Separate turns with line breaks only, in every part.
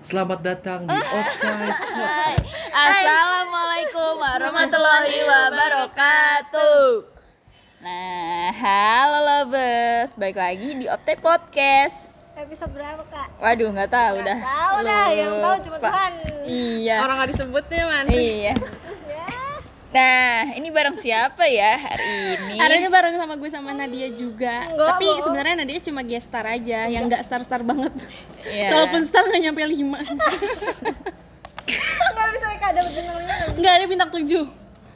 selamat datang di Offside Podcast.
Hai. Assalamualaikum warahmatullahi wabarakatuh. Nah, halo lovers, balik lagi di Opte Podcast.
episode berapa kak?
Waduh, nggak tahu
Nggak
Eh,
dah.
tahu dah, yang tahu cuma
Lupa.
Tuhan.
Iya.
Orang nggak disebut nih man.
Iya. Nah, ini bareng siapa ya hari ini?
Hari ini bareng sama gue sama Nadia juga.
Nggak,
Tapi
bohong.
sebenarnya Nadia cuma guest star aja, yang nggak star star banget.
Iya.
Kalaupun star nggak nyampe lima.
Nggak bisa kak ada bintangnya.
nggak ada bintang tujuh.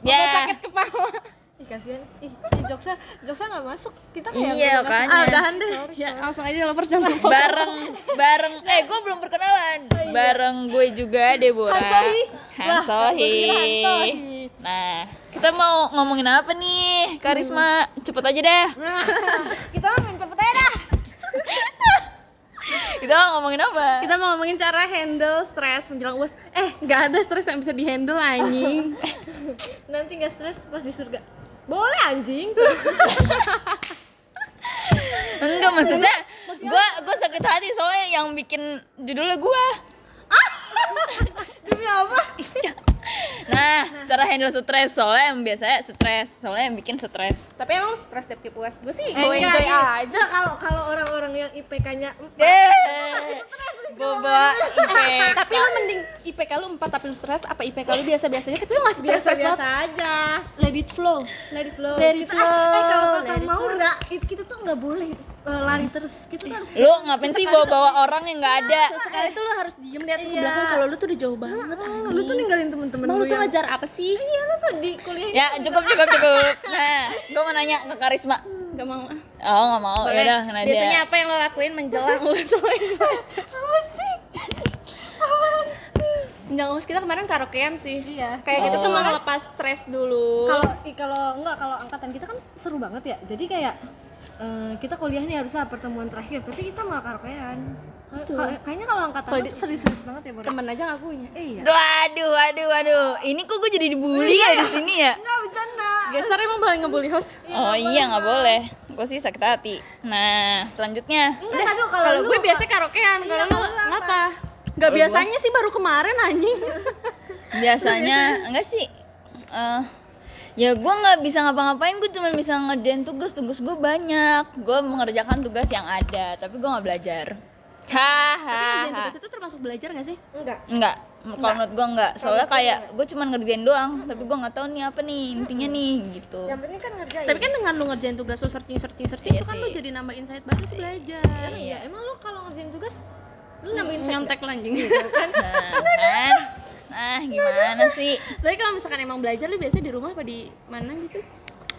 Ya.
Kepala.
Ih kasihan. Ih, ih joksa, joksa nggak masuk. Kita kayak
Iya,
belum masuk.
kan.
Ah, udahan deh. Ya, langsung aja lovers jangan lupa.
bareng bareng eh gue belum perkenalan. Bareng gue juga Deborah.
Oh, iya. Hansohi. Lah,
Hansohi.
gue bilang Hansohi.
Nah, kita mau ngomongin apa nih? Karisma, cepet aja deh.
Kita mah main cepet aja dah.
Kita mau ngomongin apa?
Kita mau ngomongin cara handle stres menjelang uas. Eh, nggak ada stres yang bisa dihandle anjing.
Nanti nggak stres pas di surga. Boleh anjing.
Enggak maksudnya gua gua sakit hati soalnya yang bikin judulnya gua.
Demi apa?
Iya. Nah, cara handle stres soalnya yang biasanya stres, soalnya yang bikin stres.
Tapi emang stres tiap tiap uas gue sih
Eh,
gue
nggak,
enjoy
gini.
aja.
Nggak, kalau kalau orang-orang yang mm, IPK-nya Eh.
Boba
Eh,
IPK.
tapi lu mending IPK lu 4 tapi lu stres apa IPK lu biasa-biasanya tapi lu nggak stres-stres
biasa-biasa
banget
aja.
let it flow
Dari flow.
Let it
Kita- eh, eh, kalau
flow,
kata
let it
mau Ra, it- kita tuh nggak boleh eh, lari terus. Kita tuh harus
Lu ngapain sih bawa-bawa orang yang nggak ada?
sesekali tuh lu harus diem lihat ke
Iya.
belakang kalau lu tuh udah jauh banget
Oh,
Ani.
lu tuh ninggalin temen-temen
emang
lu
lu tuh
yang
ngajar apa sih
Iya lu tuh di kuliah
Ya, cukup cukup cukup. Nah, gua mau nanya ke Karisma.
nggak mau ah.
Oh, nggak mau. Ya udah, Nadia.
biasanya apa yang lo lakuin menjelang uas lo yang baca apa sih Menjelang uas kita kemarin karaokean sih
Iya.
kayak gitu
Oh.
tuh mau ngelepas stres dulu
kalau i- kalau enggak kalau angkatan kita kan seru banget ya jadi kayak eh, kita kuliah nih harusnya pertemuan terakhir tapi kita malah karaokean Kay- kay- kayaknya kalau angkatan
Kalau
lu
di-
tuh serius-serius banget ya Bora
temen aja nggak punya
Eh, iya
Waduh, waduh, waduh. Ini kok gue jadi dibully
Iya.
ya di sini ya?
enggak bercanda
Gestar emang paling ngebully host
Oh iya nggak boleh. Gue sih sakit hati. Nah selanjutnya
enggak tadi lu kalau
kalau
lu Iya,
gue biasanya karaokean kalau lu ngapa nggak
Kalau
biasanya sih baru kemarin anjing
biasanya enggak sih. eh, ya gue nggak bisa ngapa-ngapain. Gue cuma bisa ngerjain tugas. Tugas gue banyak. Gue mengerjakan tugas yang ada. Tapi gue nggak belajar.
Ngerjain
Hahaha.
tugas itu termasuk belajar gak sih
enggak
Enggak. Kalau menurut gue enggak. Soalnya kayak gue cuma ngerjain doang. Tapi gue nggak tahu nih apa nih intinya nih gitu.
yang penting kan ngerjain
tapi kan dengan lu ngerjain tugas lu searching searching searching
Iya
itu kan
sih.
lu jadi nambah insight baru tuh belajar
iya emang lu kalau ngerjain tugas lu nambahin
nyontek lu anjing
Nah, kan? Nah gimana sih?
tapi kalau misalkan emang belajar lu biasanya di rumah apa di mana gitu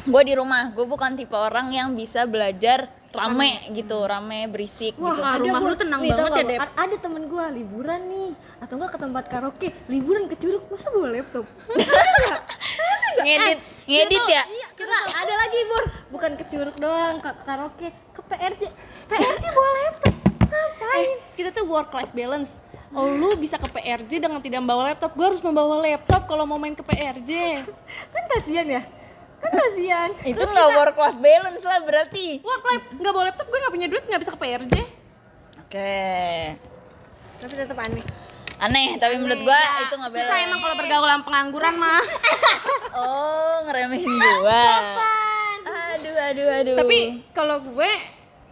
gue di rumah gue bukan tipe orang yang bisa belajar rame gitu rame berisik gitu
Wah, rumah
gua-
lu tenang
nih, tau
banget ya,
nggak,
Dep.
a- Ada temen gue liburan nih, atau enggak ke tempat karaoke, liburan ke curug, masa bawa laptop?
ngedit ngedit ya
Iya, enggak, ada lagi Bor. Bukan ke curug doang, ke karaoke, ke PRJ. PRJ bawa laptop.
eh kita tuh work life balance Oh, lu bisa ke PRJ dengan tidak membawa laptop gue harus membawa laptop kalau mau main ke PRJ
Kan kasihan ya? Kan kasihan.
itu nggak work life balance lah berarti
work life nggak bawa laptop gue nggak punya duit nggak bisa ke PRJ
oke
Tapi tetap aneh.
aneh tapi menurut gue itu nggak
susah
balance
emang kalau pergaulan pengangguran mah
oh ngeremehin gue aduh aduh aduh
tapi kalau gue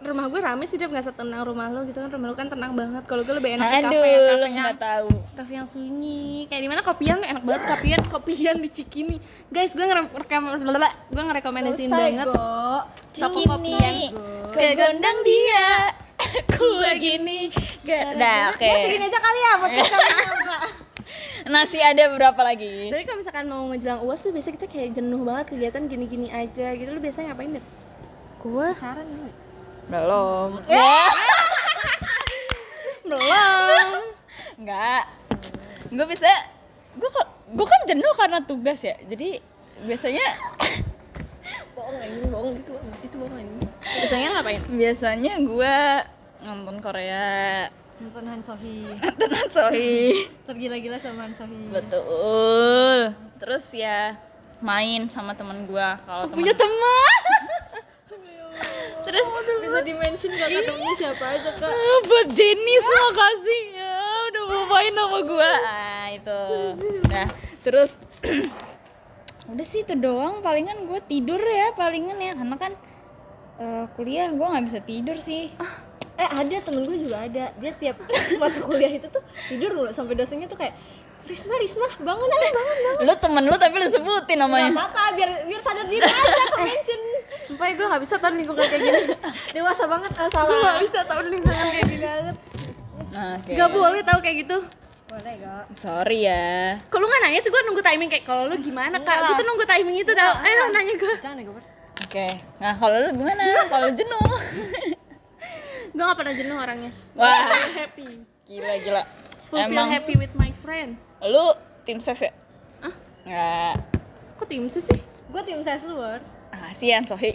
rumah gue rame sih dia nggak setenang rumah lo gitu kan rumah lo kan tenang banget kalau gue lebih
aduh
enak di kafe
lu
yang kafe yang
nggak tahu
kafe yang sunyi kayak di mana kopian enak banget kopian kopian di Cikini guys gue ngerekam gue ngerekomendasiin banget
Go.
toko
Cikini
kopian
kegondang dia aku begini gak
Iya.
nah oke
Segini aja kali ya buat kita enggak.
nasi ada berapa lagi
tapi kalau misalkan mau ngejelang uas tuh biasanya kita kayak jenuh banget kegiatan gini-gini aja gitu lo biasanya ngapain deh
Gua pacaran dulu.
belum ya
Iya. belum
Enggak. Gue bisa gue gue kan jenuh karena tugas ya. Jadi biasanya
Bohong ini, bohong itu, itu bohong ini.
biasanya ngapain
biasanya gue nonton Korea.
Nonton Han Sohi.
Nonton Sohi.
Tergila-gila sama Han Sohi.
Betul. Terus ya main sama teman gue kalau
punya
teman
teman terus
Bisa di-mention gak ketemu siapa aja, Kak?
Eh, buat Jenis makasih ya udah lupain nama gua ah itu nah terus udah sih itu doang palingan gua tidur ya palingan ya karena kan eh, kuliah gua nggak bisa tidur sih
eh ada temen gue juga ada dia tiap mata kuliah itu tuh tidur mulu sampai dosennya tuh kayak Risma Risma bangun ayo bangun bangun
lu temen lu tapi lu sebutin
nggak
namanya
apa apa biar biar sadar diri aja ke mention
Sumpah gue gak bisa tahun lingkungan kayak gini
dewasa banget ah,
Gue
salah
gak bisa tahun lingkungan kayak gini
banget
nah, oke.
Gak boleh tau kayak gitu
boleh gak
sorry ya
Kok lu gak nanya sih gue nunggu timing kayak kalau lu gimana kak Gue tuh nunggu timing itu tau Eh lu nanya gue
jangan ya gue
oke nah kalau lu gimana kalau jenuh
Gue gak pernah jenuh orangnya
Wah.
Happy
gila gila
Fulfill
emang
happy with my friend
lu tim ses ya nggak
Kok tim sih sih?
gue tim saya luar
ah, kasihan Sohi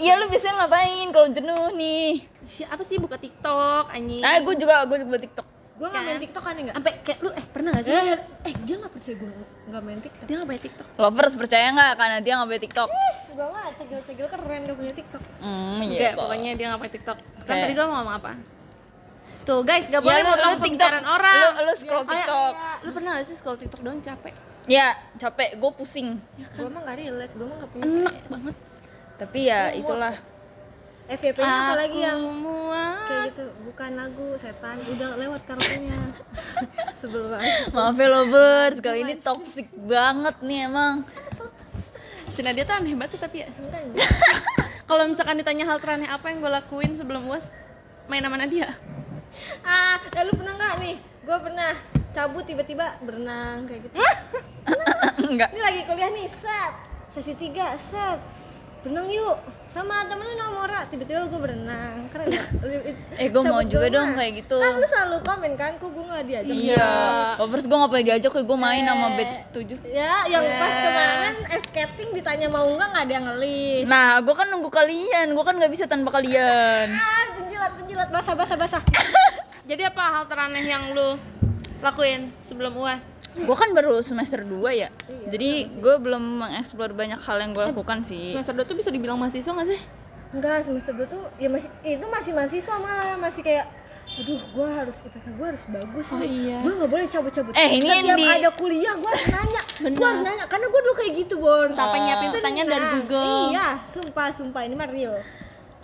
Iya lu bisa ngapain kalau jenuh nih?
Si- Apa sih buka tiktok anjing
Ah, gue juga gue buat TikTok.
gue nggak main
Kan.
TikTok kan enggak
Sampai kayak lu eh pernah gak sih?
eh, eh dia nggak percaya gue nggak main TikTok
Dia gak punya tiktok
Lovers percaya nggak karena dia nggak punya TikTok?
gue mah tegel-tegel keren gak punya TikTok
Hmm,
Enggak,
iya. toh.
pokoknya dia gak pakai TikTok. Kan
Kayak-
tadi gue mau ngomong apa? Tuh guys, gak
Ya,
boleh
lu-
potong
lu TikTok-
pembicaraan orang.
lu- lu scroll
Kayak-
TikTok.
Lu pernah gak sih scroll TikTok doang capek?
Ya capek, gue pusing.
gue mah nggak relate gue mah nggak
Iya.
punya
Enak banget.
Tapi ya itulah.
FYP nya apalagi yang
semua.
kayak gitu bukan lagu setan udah lewat kartunya sebelum banget
Maaf ya lovers, kali ini toxic banget nih emang.
Si Nadia tuh aneh banget tuh, tapi ya.
Iya.
Kalau misalkan ditanya hal teraneh apa yang gue lakuin sebelum uas main sama Nadia?
ah lalu pernah nggak nih gue pernah cabut tiba-tiba berenang kayak gitu
Enggak.
ini lagi kuliah nih set sesi tiga set berenang yuk sama temen lu nomora tiba-tiba gue berenang keren nggak? Lu- it-
Eh, gua mau
cabut
juga
doang.
dong kayak gitu.
kan lu selalu komen kan kok gue nggak diajak
Iya. Eh. Lovers gue nggak pernah diajak, gue main sama batch 7
ya yang pas kemarin skating ditanya mau nggak nggak ada yang ngelis
Nah, gue kan nunggu kalian, gue kan nggak bisa tanpa kalian.
ah penjilat penjilat basah basah basah
Jadi apa hal teraneh yang lu lakuin sebelum uas?
Gue kan baru semester 2 ya, jadi gue belum mengeksplor banyak hal yang gue lakukan sih.
Iya. Semester 2 tuh bisa dibilang mahasiswa gak sih?
Enggak, semester 2 tuh ya masih itu masih mahasiswa malah masih kayak aduh gua harus IPK gua harus bagus
Oh,
nih.
iya.
Gua nggak boleh cabut-cabut.
Eh, ini
Setiap
di-
ada kuliah gua harus nanya. gua
Benar.
harus nanya karena gua dulu kayak gitu, Bor.
Sampai nyiapin
Tenang.
pertanyaan dari Google.
Iya, sumpah sumpah ini mah real.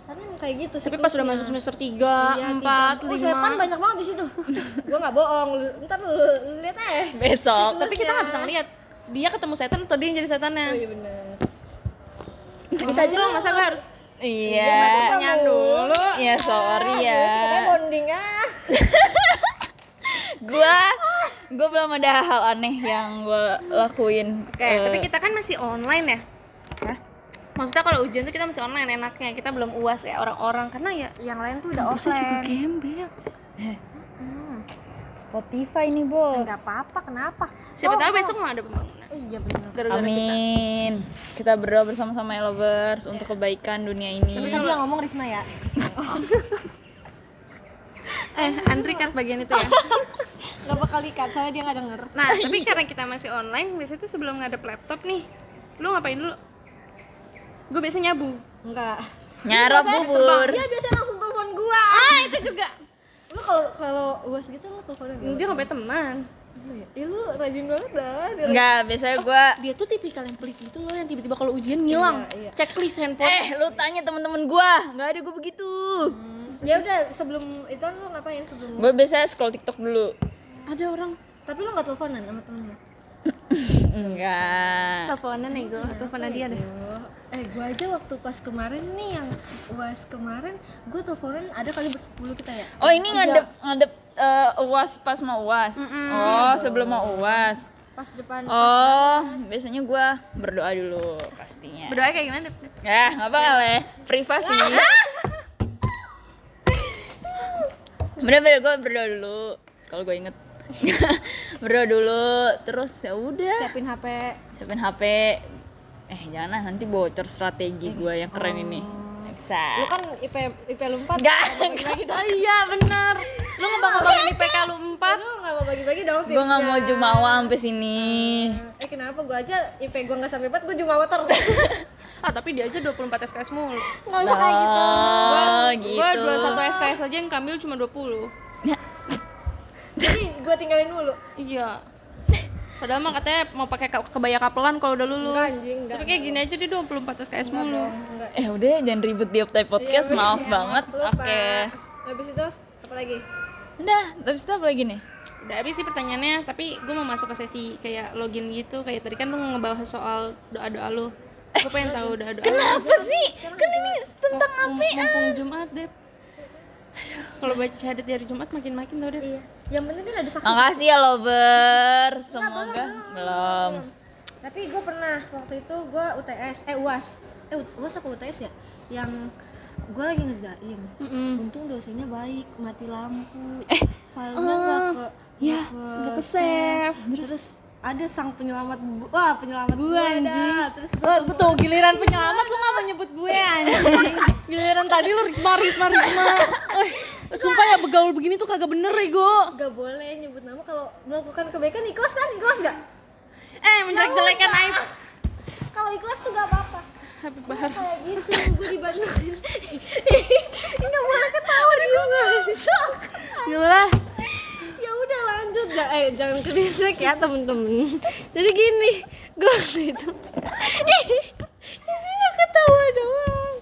Karena emang kayak gitu
Tapi pas udah
siklusnya.
masuk semester 3,
Iya,
4,
tiga. Oh, setan
5
banyak banget di situ. gua nggak bohong. Lu- Ntar lu, lu lihat eh.
Besok.
tapi kita nggak bisa ngeliat dia ketemu setan atau dia yang jadi setannya
Oh iya benar.
bisa aja masa gue harus
Iya.
tanyaan dulu
Iya, sorry ya.
Kita bonding ah.
gua gua belum ada hal aneh yang gua lakuin
oke tapi kita kan masih online
Eh.
ya
Hah?
maksudnya kalau ujian tuh kita masih online enaknya kita belum uas kayak orang-orang karena ya
Yang lain tuh udah
Terus juga gembel
Eh.
Spotify nih bos
Enggak Eh, apa-apa, kenapa? Oh,
siapa tahu besok mau ada pembangunan
Iya benar.
gara-gara kita
amin kita berdoa bersama-sama ya lovers untuk kebaikan dunia
Tapi
ini
tadi yang ngomong Risma ya.
eh antri kan bagian itu ya
Gak bakal dikat, soalnya dia gak denger.
nah tapi karena kita masih online biasanya tuh sebelum ngadep laptop nih lu ngapain dulu gue biasanya nyabu
Enggak.
nyarap bubur
Dia biasanya langsung telepon gua.
ah itu juga
Lu kalau kalau uas gitu lu teleponin gak?
dia nggak punya teman
Iya. Ih lu rajin banget dah. Dia-
nggak biasanya gua
dia tuh tipikal yang pelit gitu loh yang tiba-tiba kalau ujian ngilang
Iya, iya.
checklist handphone
eh lu tanya temen-temen gua nggak ada gua begitu
Ya udah sebelum itu kan lu ngapain sebelum?
gua biasanya scroll tiktok dulu
ada orang
Tapi lu gak teleponan sama temen lu?
enggak
teleponan ya gue teleponan dia deh
Aduh. Eh gua aja waktu pas kemarin nih yang uas kemarin gua teleponan ada kali bersepuluh kita ya.
oh ini ngadep ngadep eh, uas pas mau uas oh sebelum mau uas
Pas depan
Oh, biasanya gue berdoa dulu pastinya.
berdoa kayak gimana
Ya, nggak bakal ya. Privasi. Bener-bener gue berdoa dulu. Kalau gue inget. berdoa dulu, terus ya udah.
siapin HP.
Siapin HP. Eh jangan lah, nanti bocor strategi gue yang keren ini. Nggak Bisa.
Lu kan IP IP lu 4.
Nggak,
oh iya bener lu ngebangga-banggain IPK lu 4
Lu gak mau bagi-bagi dong
Gue nggak mau
tipsnya.
jumawa sampai sini.
Eh kenapa gue aja IP gue gak sampai 4 gue juga water
ah tapi dia aja 24 SKS mulu
Gak usah kayak gitu
Oh,
gue
gitu.
21 SKS aja yang kambil cuma 20
gue tinggalin dulu
Iya. Padahal mah katanya mau pakai ka- kebaya kapelan kalau udah lulus.
Enggak, anjing, enggak,
Tapi kayak gini aja di 24 SKS mulu.
enggak
Eh udah jangan ribut di Optai Podcast, maaf banget.
lupa
Oke.
habis itu apa lagi
Udah, habis itu apa lagi nih?
Udah habis sih pertanyaannya, tapi gue mau masuk ke sesi kayak login gitu. Kayak tadi kan lu ngebahas soal doa-doa lu. Gue pengen tahu doa-doa lu.
Apa sih? Kan ini tentang
Mum- Mumpung
ah.
Jumat, Dep. Aduh, Kalau baca syahadat dari Jumat makin-makin tau, Dep.
iya yang penting kan ada saksi
Makasih ya Lover, semoga belum.
tapi gue pernah waktu itu gue UTS eh uas eh U- uas apa UTS ya yang gue lagi ngerjain
Mm-mm.
untung dosennya baik mati lampu eh filenya nggak ke
Ya,
nggak
nggak ke save.
terus, ada sang penyelamat bu- wah penyelamat
Gua,
gua dah.
anjing.
terus
Wah, gue tuh giliran penyelamat lu gak mau nyebut gue anjing. Giliran tadi lu Risma, Risma, Risma. Eh, sumpah ya begaul begini tuh kagak bener ya, Rego.
nggak boleh nyebut nama kalau melakukan kebaikan ikhlas kan ikhlas nggak
Eh, menjelek-jelekan aib.
kalau ikhlas tuh nggak apa-apa
Habib Bahar.
kayak gitu gue dibantuin ini nggak boleh ketawa di
Gila lah.
ya udah lanjut ja- eh, jangan kebisik ya temen-temen jadi gini gue waktu itu isinya ketawa doang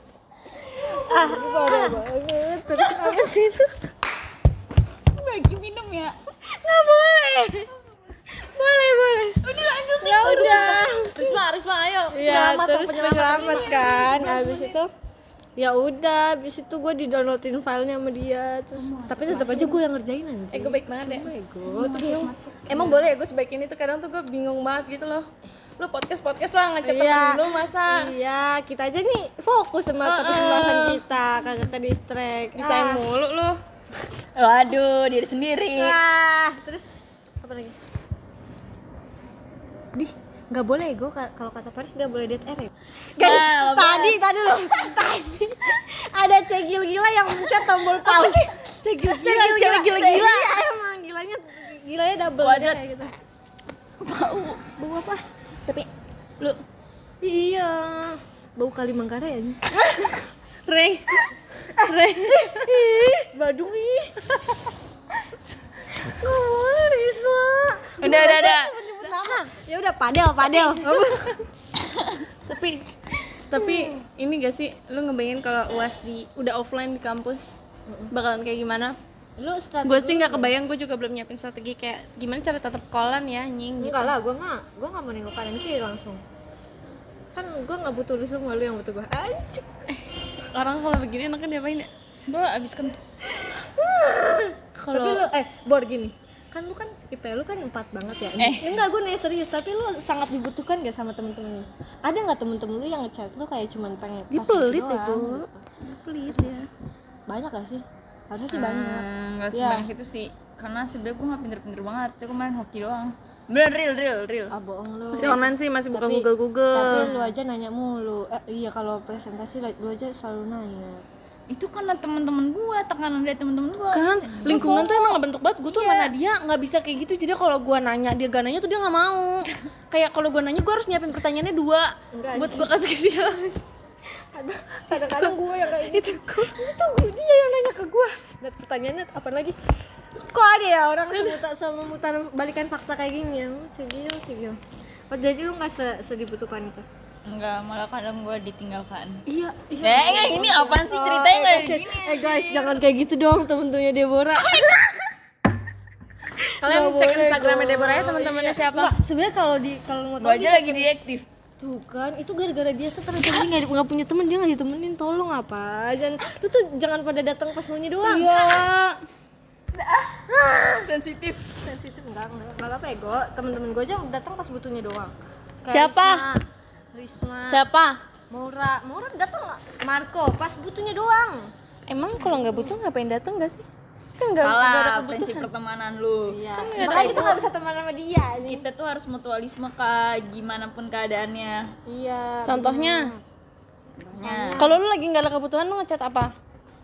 ah parah banget terus apa sih itu
Bagi minum ya.
nggak boleh boleh boleh udah lanjut ya udah
Risma, Risma ayo.
Iya,
Penyelamat,
terus
penyelamat.
penyelamat kan. Habis itu ya udah, habis itu gue didownloadin filenya sama dia. Terus tapi tetap aja gue yang ngerjain
Eh,
anjing.
gue baik banget ya.
Oh my god.
Bingung. Emang boleh ya gue sebaik ini tuh kadang tuh gue bingung banget gitu loh. Lu podcast-podcast lah ngecek
Iya.
temen lu masa
Iya, kita aja nih fokus sama topik pembahasan kita, kagak ke distract.
bisa mulu lu.
Waduh, diri sendiri.
Ah, ah. terus apa lagi? Di nggak boleh gue kalau kata Paris nggak boleh dead air ya guys
Nah, lo
tadi tadi lo tadi ada cegil gila yang mencet tombol pause Gila,
Cegil gila, cegil gila gila.
Iya, emang gilanya gilanya double
Waduh.
dia kayak gitu. Bau. Bau apa?
Tapi lu
Iya. Bau kali Manggarai ya.
Rey. Rey.
Badung nih. Nggak boleh, Risma.
Udah, udah, udah.
Nyebut nama. Ya udah padel, padel.
Tapi tapi ini gak sih lu ngebayangin kalau UAS di udah offline di kampus bakalan kayak gimana?
Lu
Gue sih nggak kebayang, gue juga belum nyiapin strategi kayak gimana cara tetap kolan ya, nying.
Enggak lah, gue mah gue nggak mau nengok kanan kiri langsung. Kan gue nggak butuh lu semua, lu yang butuh gue. Anjing.
Orang kalau begini enaknya diapain ya?
Gue abis kentut.
Tapi
Kalau
lu eh bor gini. Kan lu kan IP lu kan 4 banget ya.
Eh.
Enggak, gue nih serius, tapi lu sangat dibutuhkan gak sama temen-temen lu? Ada gak temen-temen lu yang ngechat lu kayak cuman pengen
dia
pasti
pelit ya
doang?
gue. Dia pelit ya.
Banyak gak sih? Harusnya sih banyak.
Enggak
Iya.
Hmm, sebanyak itu sih. Karena sebenarnya gue gak pinter-pinter banget. Gue main hoki doang. Bener real real real.
Ah, bohong lu.
Masih online sih, masih buka
Tapi-
Google Google.
Tapi lu aja nanya mulu. Eh, iya kalau presentasi lu aja selalu nanya.
Itu karena teman-teman gue, tekanan dari teman-teman gue.
kan lingkungan tuh emang ngebentuk banget gue tuh
Iya.
sama Nadia nggak bisa kayak gitu jadi kalau gue nanya dia gak nanya tuh dia nggak mau kayak kalau gue nanya gue harus nyiapin pertanyaannya dua
Enggak,
buat gue kasih ke dia
Kadang- Kadang-kadang gue yang kayak gitu. Itu gue dia yang nanya ke gue. Dan pertanyaannya apa lagi? Kok ada ya orang semutar sama mutar balikan fakta kayak gini ya? Segil, segil. Oh, jadi lu gak se sedibutuhkan itu?
Enggak, malah kadang gue ditinggalkan.
Iya,
Ya, enggak, ini apaan sih ceritanya enggak ada gini.
Eh guys, jangan kayak gitu dong temen-temennya Deborah.
kalian
Nggak
cek
boleh
instagramnya
dong.
Deborah ya teman-temannya siapa
Enggak, sebenarnya kalau di kalau mau
Gue
tahu
aja
dia-
lagi diaktif.
tuh kan itu gara-gara dia sekarang jadi nggak nggak punya temen dia nggak ditemenin tolong apa jangan lu tuh jangan pada datang pas maunya doang
iya
Sensitif.
sensitif enggak enggak enggak apa-apa ya go temen-temen gue aja datang pas butuhnya doang Kayak
Siapa?
Risma, Risma
siapa
Maura Maura datang nggak? Marco pas butuhnya doang
emang kalau nggak butuh ngapain datang gak sih kan nggak nggak ada
Salah prinsip
kebutuhan
pertemanan lu.
iya makanya kita nggak bisa teman sama dia nih
Kita tuh harus mutualisme kak, gimana pun keadaannya.
iya
contohnya
Hmm.
Ya,
kalau lu lagi nggak ada kebutuhan lu ngechat apa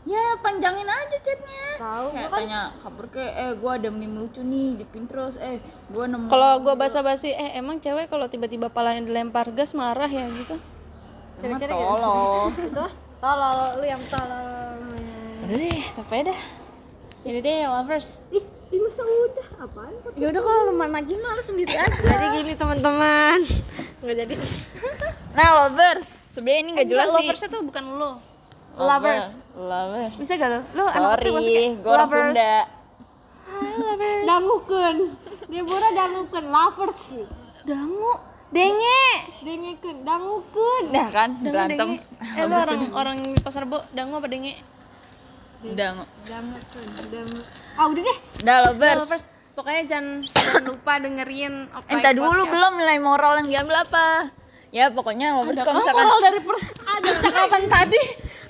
ya panjangin aja chatnya.
tahu kan-
Kayak
kan
tanya kabar ke, eh gue ada meme lucu nih di Pinterest, eh gue nemu.
kalau gue basa-basi eh emang cewek kalau tiba-tiba palanya dilempar gas marah ya gitu
Emang tolong.
itu tolol lu yang tolol
Udah deh, tapi dah.
jadi deh lovers
ih Ih, masa udah apaan?
Ya udah kalau lu mana lagi malu sendiri aja.
Jadi gini teman-teman. Nggak jadi.
Nah, lovers. Sebenarnya ini nggak jelas sih.
Loversnya tuh bukan lu. Lovers.
Lovers. Kan
Bisa gak lu? Lu anak
Sorry,
tuh masih kayak
gue orang
lovers.
Sunda.
Hai, lovers.
Dangukeun. Deborah dangukeun lovers sih.
Dangu. Denge.
Dengekeun, dangukeun.
Nah kan,
Dangu,
berantem.
denge. Eh lu orang orang pasar bo, dangu apa denge?
Udah,
Dangukeun, dangu. Ah, udah deh.
udah lovers.
Nah, Lovers. Pokoknya jangan, jangan lupa dengerin Okai
Entah dulu
Podcast.
belum nilai moral yang diambil apa. Ya pokoknya lovers
Ada
kalau
kan
misalkan
moral dari per percakapan tadi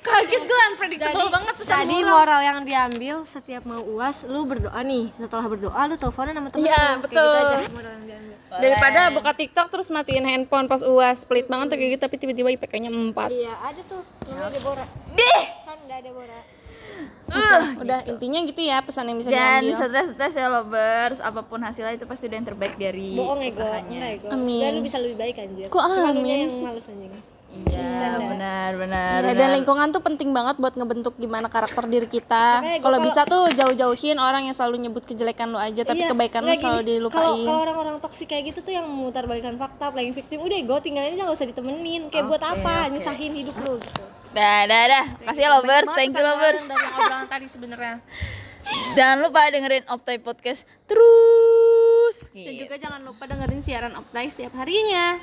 kaget gue unpredictable banget pesan
Tadi moral yang diambil setiap mau uas, lu berdoa nih. Setelah berdoa, lu teleponan sama temen lu.
Iya,
Kayak
betul.
Gitu aja moral yang diambil.
daripada buka TikTok terus matiin handphone pas uas pelit banget tuh kayak gitu tapi tiba-tiba IPK-nya 4
Iya, ada tuh. Namanya Deborah. Kan nggak ada Deborah. Hmm.
udah intinya gitu ya pesan yang bisa
dan
diambil
stres-stres ya lovers, apapun hasilnya itu pasti udah yang terbaik dari
Bohong ego,
usahanya.
enggak ego.
Amin.
Oh, Sebenarnya lu bisa lebih baik anjir.
Kok ah,
Cuma lu
amin
nya yang
sih?
malas anjing.
Iya, benar benar.
Ya, dan lingkungan tuh penting banget buat ngebentuk gimana karakter diri kita.
Makanya gua
Kalau
kalau-
bisa tuh jauh-jauhin orang yang selalu nyebut kejelekan lu aja, tapi
Iya,
kebaikan lu
nggak
selalu
gini. Kalau
dilupain.
kalau orang-orang toksik kayak gitu tuh yang memutarbalikkan fakta, playing victim, udah ego tinggalin aja nggak usah ditemenin. Kayak buat apa? Nyusahin hidup lu gitu.
Dah, dah, dah. Kasih ya, lovers, thank you lovers.
Dari obrolan tadi sebenarnya.
Jangan lupa dengerin Optai Podcast terus.
Dan
Gitu.
juga jangan lupa dengerin siaran Optai setiap harinya.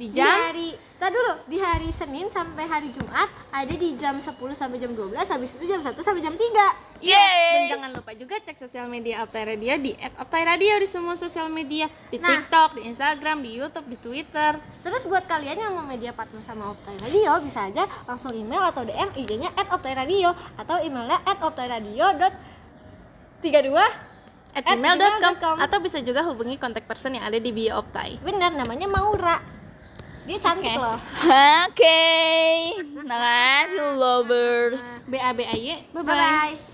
Di
Di
jam
hari, tak dulu di hari Senin sampai hari Jumat ada di jam 10 sampai jam 12, habis itu jam 1 sampai jam 3.
Yeay.
Iya,
Eh.
dan jangan lupa juga cek sosial media Optai Radio di @optairadio di semua sosial media, di
Nah.
TikTok, di Instagram, di YouTube, di Twitter.
Terus buat kalian yang mau media partner sama Optai Radio bisa aja langsung email atau DM IG-nya @optairadio atau emailnya @optairadio.32
at
At
gmail.com
gmail.com.
atau bisa juga hubungi kontak person yang ada di bio Optai.
Bener namanya Maura. Dia cantik loh.
Oke. Makasih lovers.
B A B A Y. Bye bye.
Bye bye.